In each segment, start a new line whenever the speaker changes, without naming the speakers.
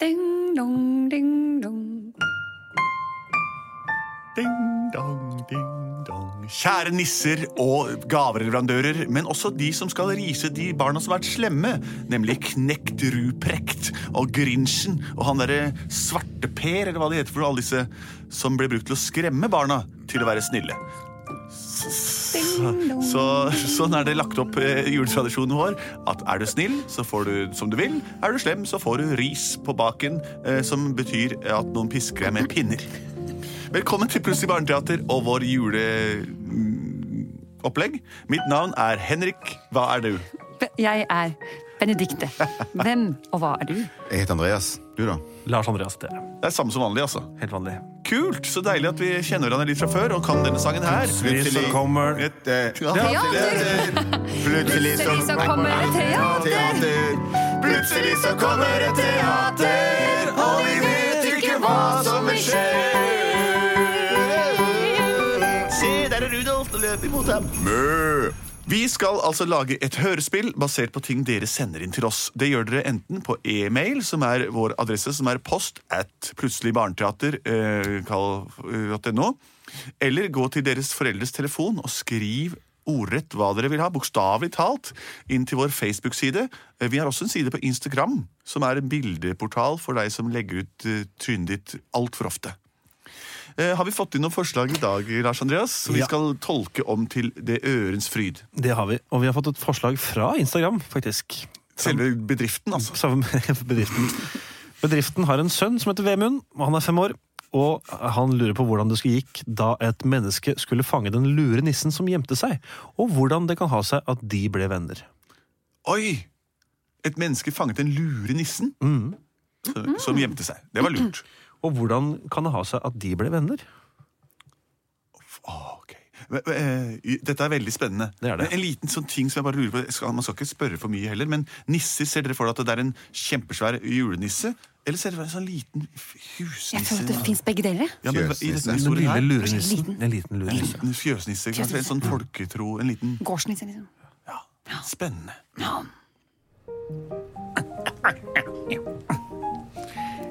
Ding dong, ding dong.
Ding dong, ding dong. Kjære nisser og gavereleverandører, men også de som skal rise de barna som har vært slemme, nemlig Knekt Ruprekt og Grinchen og han derre Svarteper, eller hva det heter for noe, alle disse som ble brukt til å skremme barna til å være snille.
Ding dong.
Så, sånn er det lagt opp eh, i juletradisjonen vår. At er du snill, så får du som du vil. Er du slem, så får du ris på baken, eh, som betyr at noen pisker deg med pinner. Velkommen til Plutselig barneteater og vår juleopplegg. Mitt navn er Henrik. Hva er du?
Be- Jeg er Benedikte. Hvem og hva er du?
Jeg heter Andreas. Du, da?
Lars Andreas Dere.
Det er samme som vanlig, altså.
Helt vanlig.
Kult! Så deilig at vi kjenner hverandre litt fra før og kan denne sangen her.
Plutselig så kommer et
Ja,
sånn-
Plutselig
Plutselig så kommer et teater.
Plutselig så kommer et teater, og vi vet ikke hva som vil skje.
Se, der er Rudolf og løper mot ham. Vi skal altså lage et hørespill basert på ting dere sender inn til oss. Det gjør dere enten på e-mail, som er vår adresse, som er post at eh, plutseligbarneteater.no, eller gå til deres foreldres telefon og skriv ordrett hva dere vil ha, bokstavelig talt, inn til vår Facebook-side. Eh, Vi har også en side på Instagram, som er en bildeportal for deg som legger ut eh, trynet ditt altfor ofte. Eh, Har vi fått inn noen forslag i dag, Lars Andreas, som vi
Ja.
skal tolke om til det ørens fryd?
Det har vi. Og vi har fått et forslag fra Instagram, faktisk.
Selve bedriften, altså.
Samme med bedriften. Bedriften har en sønn som heter Vemund, og han er fem år. Og han lurer på hvordan det skulle gikk da et menneske skulle fange den lure nissen som gjemte seg, og hvordan det kan ha seg at de ble venner.
Oi! Et menneske fanget den lure nissen
Mm.
som,
Mm.
som gjemte seg. Det var lurt.
Og hvordan kan det ha seg at de ble venner?
Åh, ok. Men, men, eh, Dette er veldig spennende.
Det er det.
Men En liten sånn ting som jeg bare lurer på jeg skal- Man skal ikke spørre for mye heller, men nisser, ser dere for dere at det er en kjempesvær julenisse? Eller ser dere for dere en sånn
Jeg
liten husnisse?
føler at det fins begge deler.
ja, men, I
Fjøsnisse.
denne
Den
historien
lille
her,
lure nissen. En liten lure
en
nisse.
liten fjøsnisse. ikke sant? En sånn folketro, en liten
Gårdsnisse, liksom.
ja, Spennende.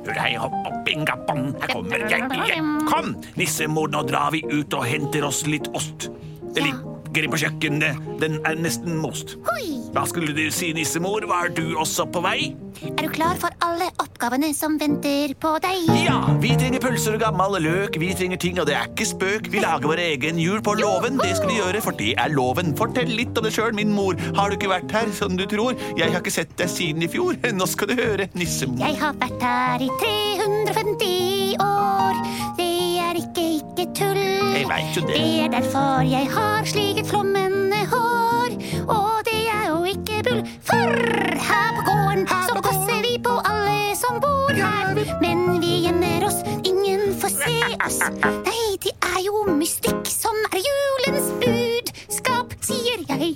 Hør hei, hopp og binga bong, her kommer jeg igjen. Kom, nissemor, nå drar vi ut og henter oss litt ost. Det ligger på kjøkkenet, den er nesten most.
Hoi!
Hva skulle du si, nissemor, var du også på vei?
Er du klar for alle oppgavene som venter på deg?
Ja, vi trenger pølser og gammel løk, vi trenger ting, og det er ikke spøk. Vi lager vår egen jul på låven, det skal vi gjøre, for det er loven. Fortell litt om det sjøl, min mor. Har du ikke vært her, som du tror? Jeg har ikke sett deg siden i fjor. Nå skal du høre, nissemor.
Jeg har vært her i 350 år. Det er ikke ikke tull.
Jeg vet jo det.
Det er derfor jeg har sliket flommende hår. Og det er jo ikke bull, for her på gården så passer vi på alle som bor her. Men vi gjemmer oss, ingen får se oss. Nei, det er jo mystikk som er julens budskap, sier jeg.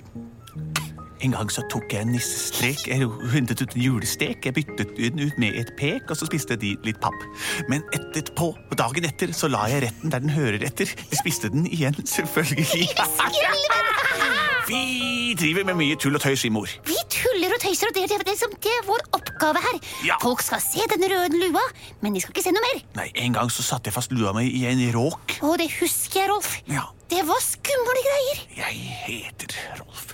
En gang så tok jeg en nissestrek, jeg hundet ut en julestek, jeg byttet den ut med et pek, og så spiste de litt papp. Men etterpå, på dagen etter, så la jeg retten der den hører etter. De spiste den igjen, selvfølgelig. Vi driver med mye tull og tøys i mor.
Vi tuller og tøyser, og det, det, det, som- det er vår oppgave her.
Ja.
Folk skal se den røde lua, men de skal ikke se noe mer.
Nei, en gang så satte jeg fast lua mi i en råk.
Og det husker jeg, Rolf.
Ja.
Det var skumle greier.
Jeg heter Rolf.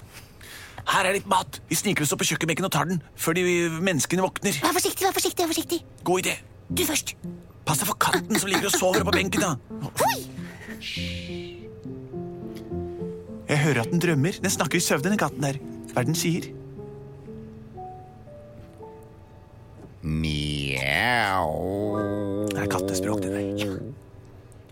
Her er litt mat. Vi sniker oss opp på kjøkkenbenken og tar den før de menneskene våkner.
Vær forsiktig, vær forsiktig. vær forsiktig.
God idé.
Du først.
Pass deg for katten som ligger og sover på benken, da.
Hoi!
Jeg hører at den drømmer. Den snakker i søvne, den katten der. Hva er det den sier?
Mjau.
Det er kattespråk, det der. Ja,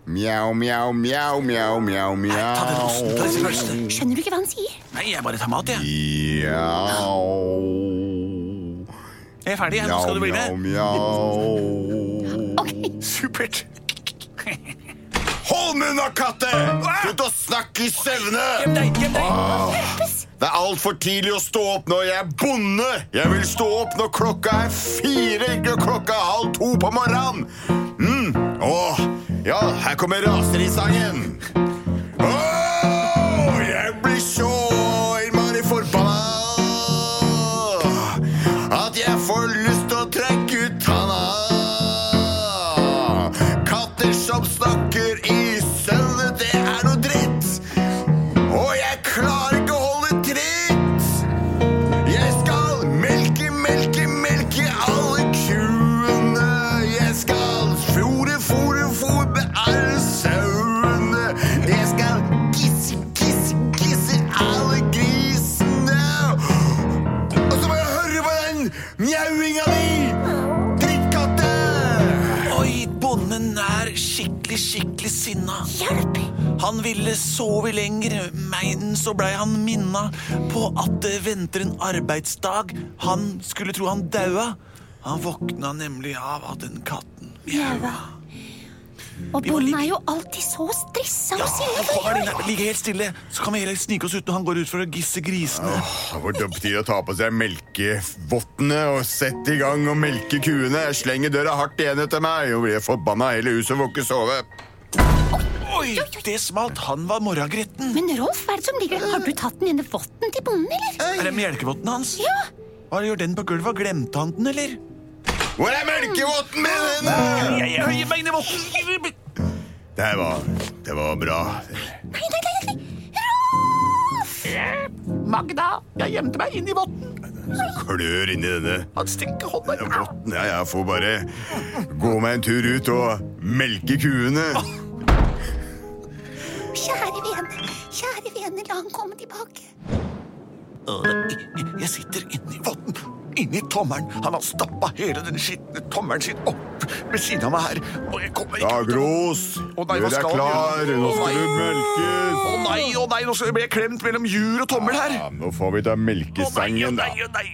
Mjau, mjau, mjau, mjau, mjau,
Ta den osten, ta
mjau.
disse pølsene.
Skjønner du ikke hva han sier?
Nei, jeg bare tar mat, jeg.
Mjau.
Jeg er ferdig, jeg. Nå skal du bli med.
mjau.
Ok,
Supert.
Hold munn, da, katte! Slutt å snakke i søvne!
Gjem deg, gjem deg.
Det er altfor tidlig å stå opp når jeg er bonde. Jeg vil stå opp når klokka er fire, ikke når klokka er halv to på morgenen. Mm. Åh, ja, her kommer raserisangen. Åh, jeg blir så innmari forbanna at jeg får lyst til å trekke ut tanna.
Hjelp!
Han ville sove lenger, men så blei han minna på at det venter en arbeidsdag. Han skulle tro han daua. Han våkna nemlig av at den katten mjaua.
Og
må
bonden
ligge-
er jo alltid så stressa
Ja,
og sinna
han
for
kommer inn her. Ligg helt stille, så kan vi heller snike oss ut når han går ut for å gisse grisene.
Hvor dumt de å ta på seg melkevottene og sette i gang og melke kuene. Jeg slenger døra hardt igjen etter meg og blir forbanna hele huset og får ikke sove.
Oi, det smalt. Han var morragretten.
Men Rolf, hva er det som ligger Har du tatt den ene votten til bonden, eller?
Er det melkevotten hans?
Ja!
Hva gjør den på gulvet? Glemte han den, eller?
Hvor er melkevotten min? henne?
Jeg, jeg høyer meg inn i votten.
Det her var, det var bra.
Nei, nei, nei, nei.
Magda, jeg gjemte meg inn i votten.
Klør inni denne
Han stikker hånda
denne votten. Ja, jeg får bare gå meg en tur ut og melke kuene.
Kjære vene, kjære vene, la han komme tilbake.
Jeg sitter inni votten. Inni tommelen. Han har stappa hele den skitne tommelen sin opp ved siden av meg her. Og jeg kommer
Da,
ikke ut.
Gros,
Å nei,
gjør
hva
deg
skal
klar.
vi gjøre?
Nå
Å
skal
nei.
du melkes.
Å nei, å nei, nå blir jeg klemt mellom jur og tommel her.
Ja, nå får vi ta
Å nei, å
melkesangen, da.
nei, å nei.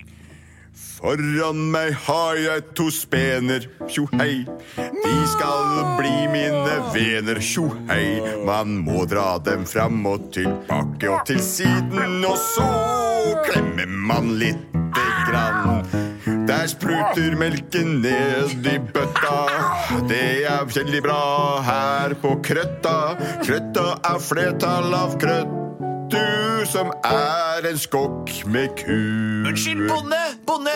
Foran meg har jeg to spener, tjo hei. De skal bli mine vener, tjo hei. Man må dra dem fram og tilbake og til siden, og så klemmer man lite grann. Der spruter melken ned i bøtta. Det er veldig bra her på Krøtta. Krøtta er flertall av krøttur, som er en skokk med kuer.
Unnskyld, bonde! Bonde!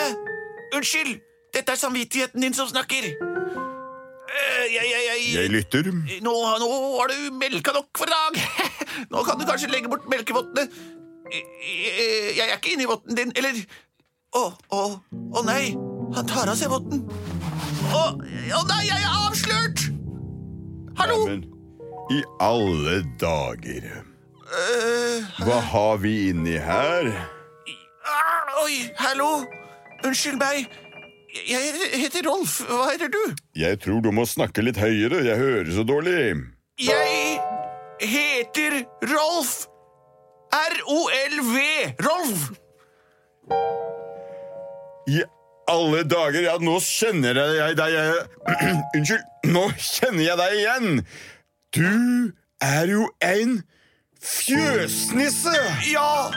Unnskyld! Dette er samvittigheten din som snakker. Eh, Jeg, jeg,
Jeg
jeg
lytter.
nå, nå har du melka nok for i dag. Nå kan du kanskje legge bort melkevottene. Eh, Jeg er ikke inni votten din, eller Å, å, å nei. Han tar av seg votten. Å, å nei, jeg er avslørt! Hallo!
Men i alle dager
Eh,
Hva har vi inni her?
ah, oi, hallo. Unnskyld meg. Jeg heter Rolf. Hva heter du?
Jeg tror du må snakke litt høyere. Jeg hører så dårlig.
Jeg heter Rolf. R-O-L-V. Rolf.
I alle dager! Ja, nå kjenner jeg deg jeg, Unnskyld. Nå kjenner jeg deg igjen! Du er jo en fjøsnisse
Ja,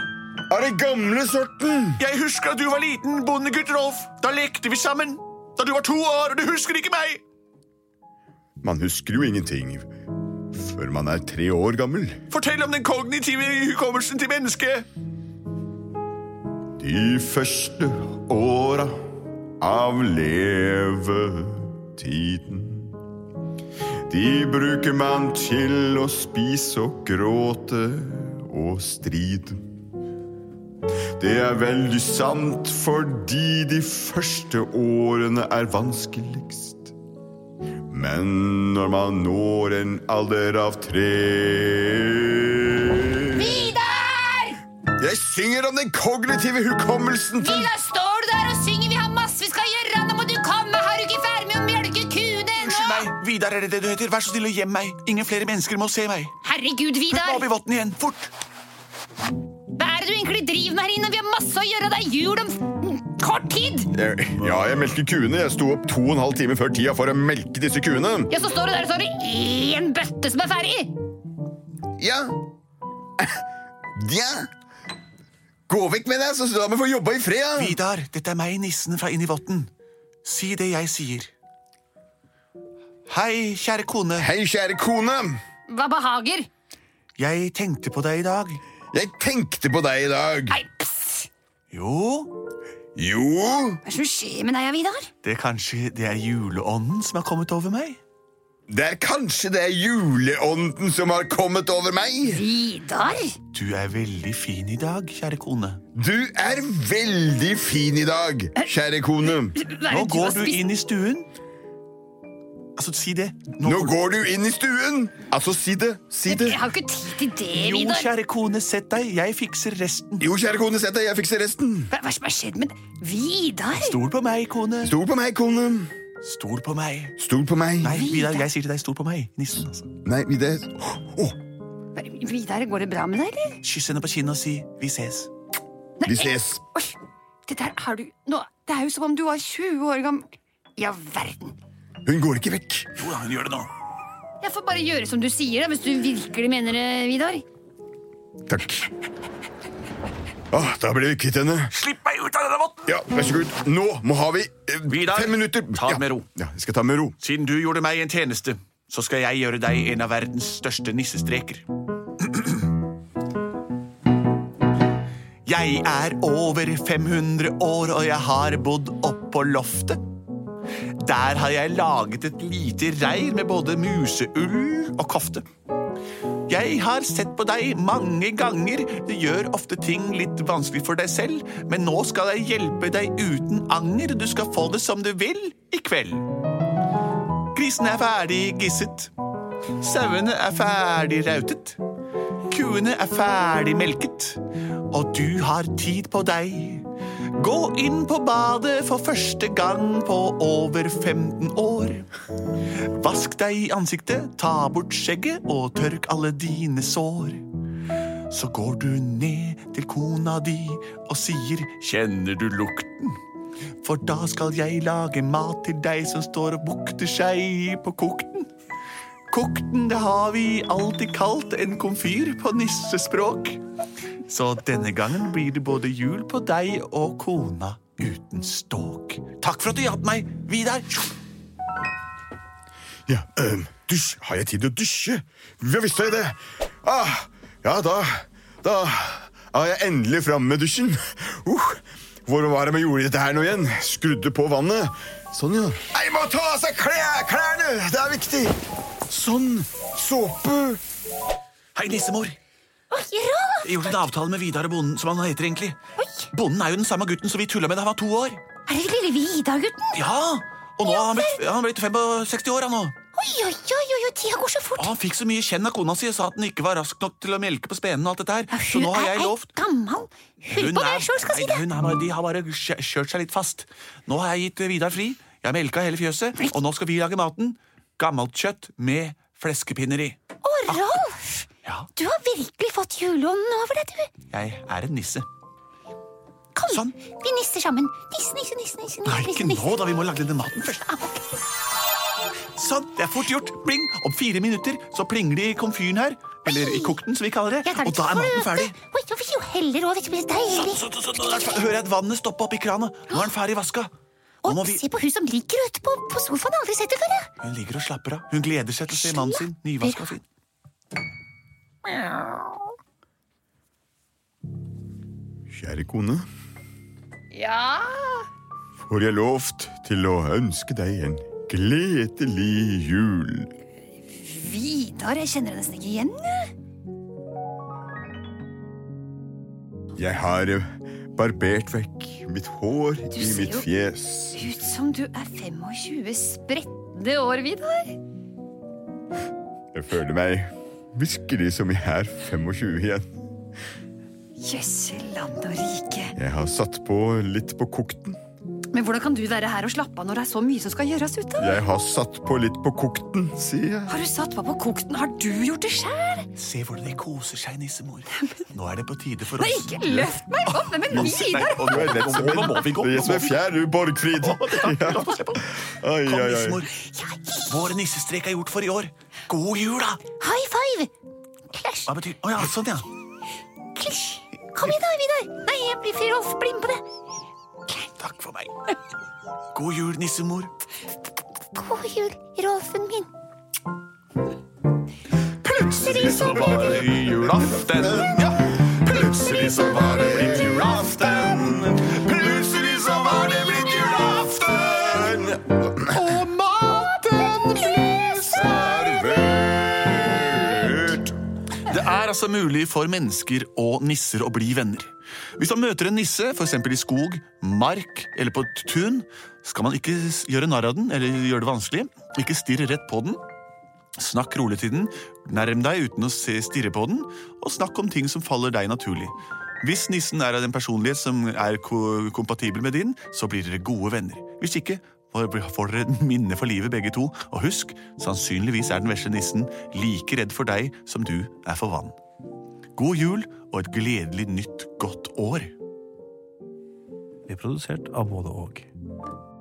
av den gamle sorten!
jeg husker at du var liten, bondegutt Rolf. Da lekte vi sammen. Da du var to år, og du husker ikke meg.
Man husker jo ingenting før man er tre år gammel.
Fortell om den kognitive hukommelsen til mennesket.
De første åra av levetiden. De bruker man til å spise og gråte og stride. Det er veldig sant fordi de første årene er vanskeligst. Men når man når en alder av tre
Vidar!
Jeg synger om den kognitive hukommelsen til
Vidar, står du der og synger? Vi har masse vi skal gjøre! Nå må du komme! Har du ikke ferdig med å melke kuene
Unnskyld
ennå?
meg. Vidar, er det det du heter? Vær så snill og gjem meg. Ingen flere mennesker må se meg.
Herregud,
Putt meg opp
Vidar!
i votten igjen. Fort.
Hva er det du egentlig driver med her inne? Vi har masse å gjøre! Det er jul om f- kort tid!
Jeg- Ja, jeg melker kuene. Jeg sto opp to og en halv time før tida for å melke disse kuene.
Ja, så står du der og så har du én bøtte som er ferdig!
Ja. Ja. Gå vekk med deg, så la meg få jobba i fred.
Vidar, dette er meg, nissen fra inni votten. Si det jeg sier. Hei, kjære kone.
Hei, kjære kone.
Hva behager?
Jeg tenkte på deg i dag.
Jeg tenkte på deg i dag.
Nei, pss!
Jo,
Jo,
Hva er det som skjer med deg, Vidar?
det er kanskje det er juleånden som har kommet over meg.
det er kanskje det er juleånden som har kommet over meg.
Vidar?
Du er veldig fin i dag, kjære kone.
Du er veldig fin i dag, kjære kone.
Hva er
Nå
det du
går
har
du
spist?
inn i stuen. Altså, si det. Nå
Nå
får-
går du inn i stuen. Altså, si det. Si det.
Jeg har ikke tid til det,
Jo,
Vidar.
kjære kone, sett deg. Jeg fikser resten.
Jo, kjære kone, sett deg. Jeg fikser resten.
Hva hva er det som har skjedd med Vidar?
Stol på meg, kone.
Stol på meg, kone.
Stol på meg.
Stol på meg.
Nei, Vidar, jeg sier til deg, stol på meg. Nissen, altså.
Nei, Vidar. Å,
Vidar, går det bra med deg, eller?
Kyss henne på kinnet og si 'vi ses'.
vi ses.
Oi, det der er du nå, Det er jo som om du var 20 år gammel. Ja, verden.
Hun går ikke vekk.
Jo da, hun gjør det nå.
Jeg får bare gjøre som du sier, da, hvis du virkelig mener det, Vidar.
Takk. Åh, da ble vi kvitt henne.
Slipp meg ut av denne votten!
Ja, vær så god. Nå må har vi eh,
Vidar,
fem minutter.
ta det
ja.
med ro.
Ja, jeg skal ta det med ro.
Siden du gjorde meg en tjeneste, så skal jeg gjøre deg en av verdens største nissestreker. Jeg er over 500 år, og jeg har bodd oppå loftet. Der har jeg laget et lite reir med både museull og kofte. Jeg har sett på deg mange ganger. Du gjør ofte ting litt vanskelig for deg selv, men nå skal jeg hjelpe deg uten anger. Du skal få det som du vil i kveld. Grisene er ferdig gisset. Sauene er ferdig rautet. Kuene er ferdig melket. Og du har tid på deg. Gå inn på badet for første gang på over 15 år. Vask deg i ansiktet, ta bort skjegget og tørk alle dine sår. Så går du ned til kona di og sier 'Kjenner du lukten?' For da skal jeg lage mat til deg som står og bukter seg på kokten. Kokten, det har vi alltid kalt en komfyr på nissespråk. Så denne gangen blir det både jul på deg og kona uten ståk. Takk for at du hjalp meg, Vidar.
Ja, øhm, dusj. Har jeg tid til å dusje? Ja, visst har jeg det. Ah, ja, da Da er jeg endelig framme med dusjen. Uh, hvor var det man gjorde dette her nå igjen? Skrudde på vannet. Sånn, ja. Jeg må ta av seg klær, klærne! Det er viktig. Sånn. Såpe.
Hei, nissemor.
Oi, Rolf!
Jeg gjorde en avtale med Vidar og bonden, som han heter egentlig. Bonden er jo den samme gutten som vi tulla med da han var to år.
Er det lille Vidar, gutten?
Ja, Og nå har han blitt, han er blitt 65 år, han nå.
Oi, oi, oi, oi, oi, tida går så
Og
fort.
Ah, han fikk så mye kjenn av kona si og sa at den ikke var rask nok til å melke på spenen. og alt dette
Ja,
her. Så nå har jeg lovt
Hun er ei gammel Hør på meg sjøl, skal
nei,
si det.
hun er bare, De har bare kjø- kjørt seg litt fast. Nå har jeg gitt eh, Vidar fri. Jeg har melka hele fjøset, og nå skal vi lage maten. Gammelt kjøtt med fleskepinner i.
Å, Rolf!
Ja,
Du har virkelig fått juleånden over deg, du.
jeg er en nisse.
Kom,
Sånn.
vi nisser sammen. Nisse, nisse, nisse, nisse,
Nei,
nisse,
ikke
nisse,
nå,
nisse.
da. Vi må lage denne maten først. Sånn, det er fort gjort. Bling! Om fire minutter så plinger det i komfyren her. Eller i kokten, som vi kaller det.
Jeg tar
Og
litt
da er maten
fløte.
ferdig. Sånn,
Oi, jeg vil jo heller over, det blir deilig.
Så, så, så, nå er det fer- hører jeg at vannet stopper opp i krana. Nå er den ferdig vaska. Nå
Og
må vi...
se på hun som ligger ute på, på sofaen. Jeg har Aldri sett det før. jeg.
Hun ligger og slapper av. Hun gleder seg til å se mannen sin
Slapper
nyvaska
av.
og fin.
Kjære kone,
Ja,
får jeg lovt til å ønske deg en gledelig jul.
Vidar, jeg kjenner deg nesten ikke igjen.
Jeg har eh, barbert vekk mitt hår i
ser
mitt
jo-
fjes.
Ut som du er 25 spredte år, Vidar.
Jeg føler meg virkelig som jeg er 25 igjen.
Jøsse land og rike.
Jeg har satt på litt på kokten.
Men hvordan kan du være her og slappe av når det er så mye som skal gjøres ute?
Jeg har satt på litt på kokten, sier jeg.
Har du satt på på kokten? Har du gjort det sjæl?
Se hvordan de koser seg, nissemor. Nå er det på tide for
Nei,
oss.
ikke løft meg opp! Nei, men Vidar!
og nå er det- nå må- nå må vi gå.
Det er jeg som er fjær, du, Borgfrid.
La oss slippe opp.
Ai,
Kom,
ai, ai.
nissemor. Vår nissestrek er gjort for i år. God jul, da!
High five! Klasj,
Hva betyr Å ja, sånn, ja.
klasj. Kom igjen, da, Vidar. Nei, jeg blir Rolf. Bli med på det.
Takk for meg. God jul, nissemor.
God jul, Rolfen min.
Plutselig så var det julaften. Ja. Plutselig så var det blitt julaften. Plutselig så var det blitt julaften. Og maten ble servert. Det er altså mulig for mennesker og nisser å bli venner. Hvis man møter en nisse, f.eks. i skog, mark eller på et tun, skal man ikke s- gjøre narr av den eller gjøre det vanskelig. Ikke stirre rett på den. Snakk rolig til den, nærm deg uten å se stirre på den, og snakk om ting som faller deg naturlig. Hvis nissen er av den personlighet som er ko kompatibel med din, så blir dere gode venner. Hvis ikke, og blir- får dere et minne for livet, begge to. Og husk, sannsynligvis er den vesle nissen like redd for deg som du er for vann. God jul og et gledelig nytt godt år.
Vi er produsert av både og.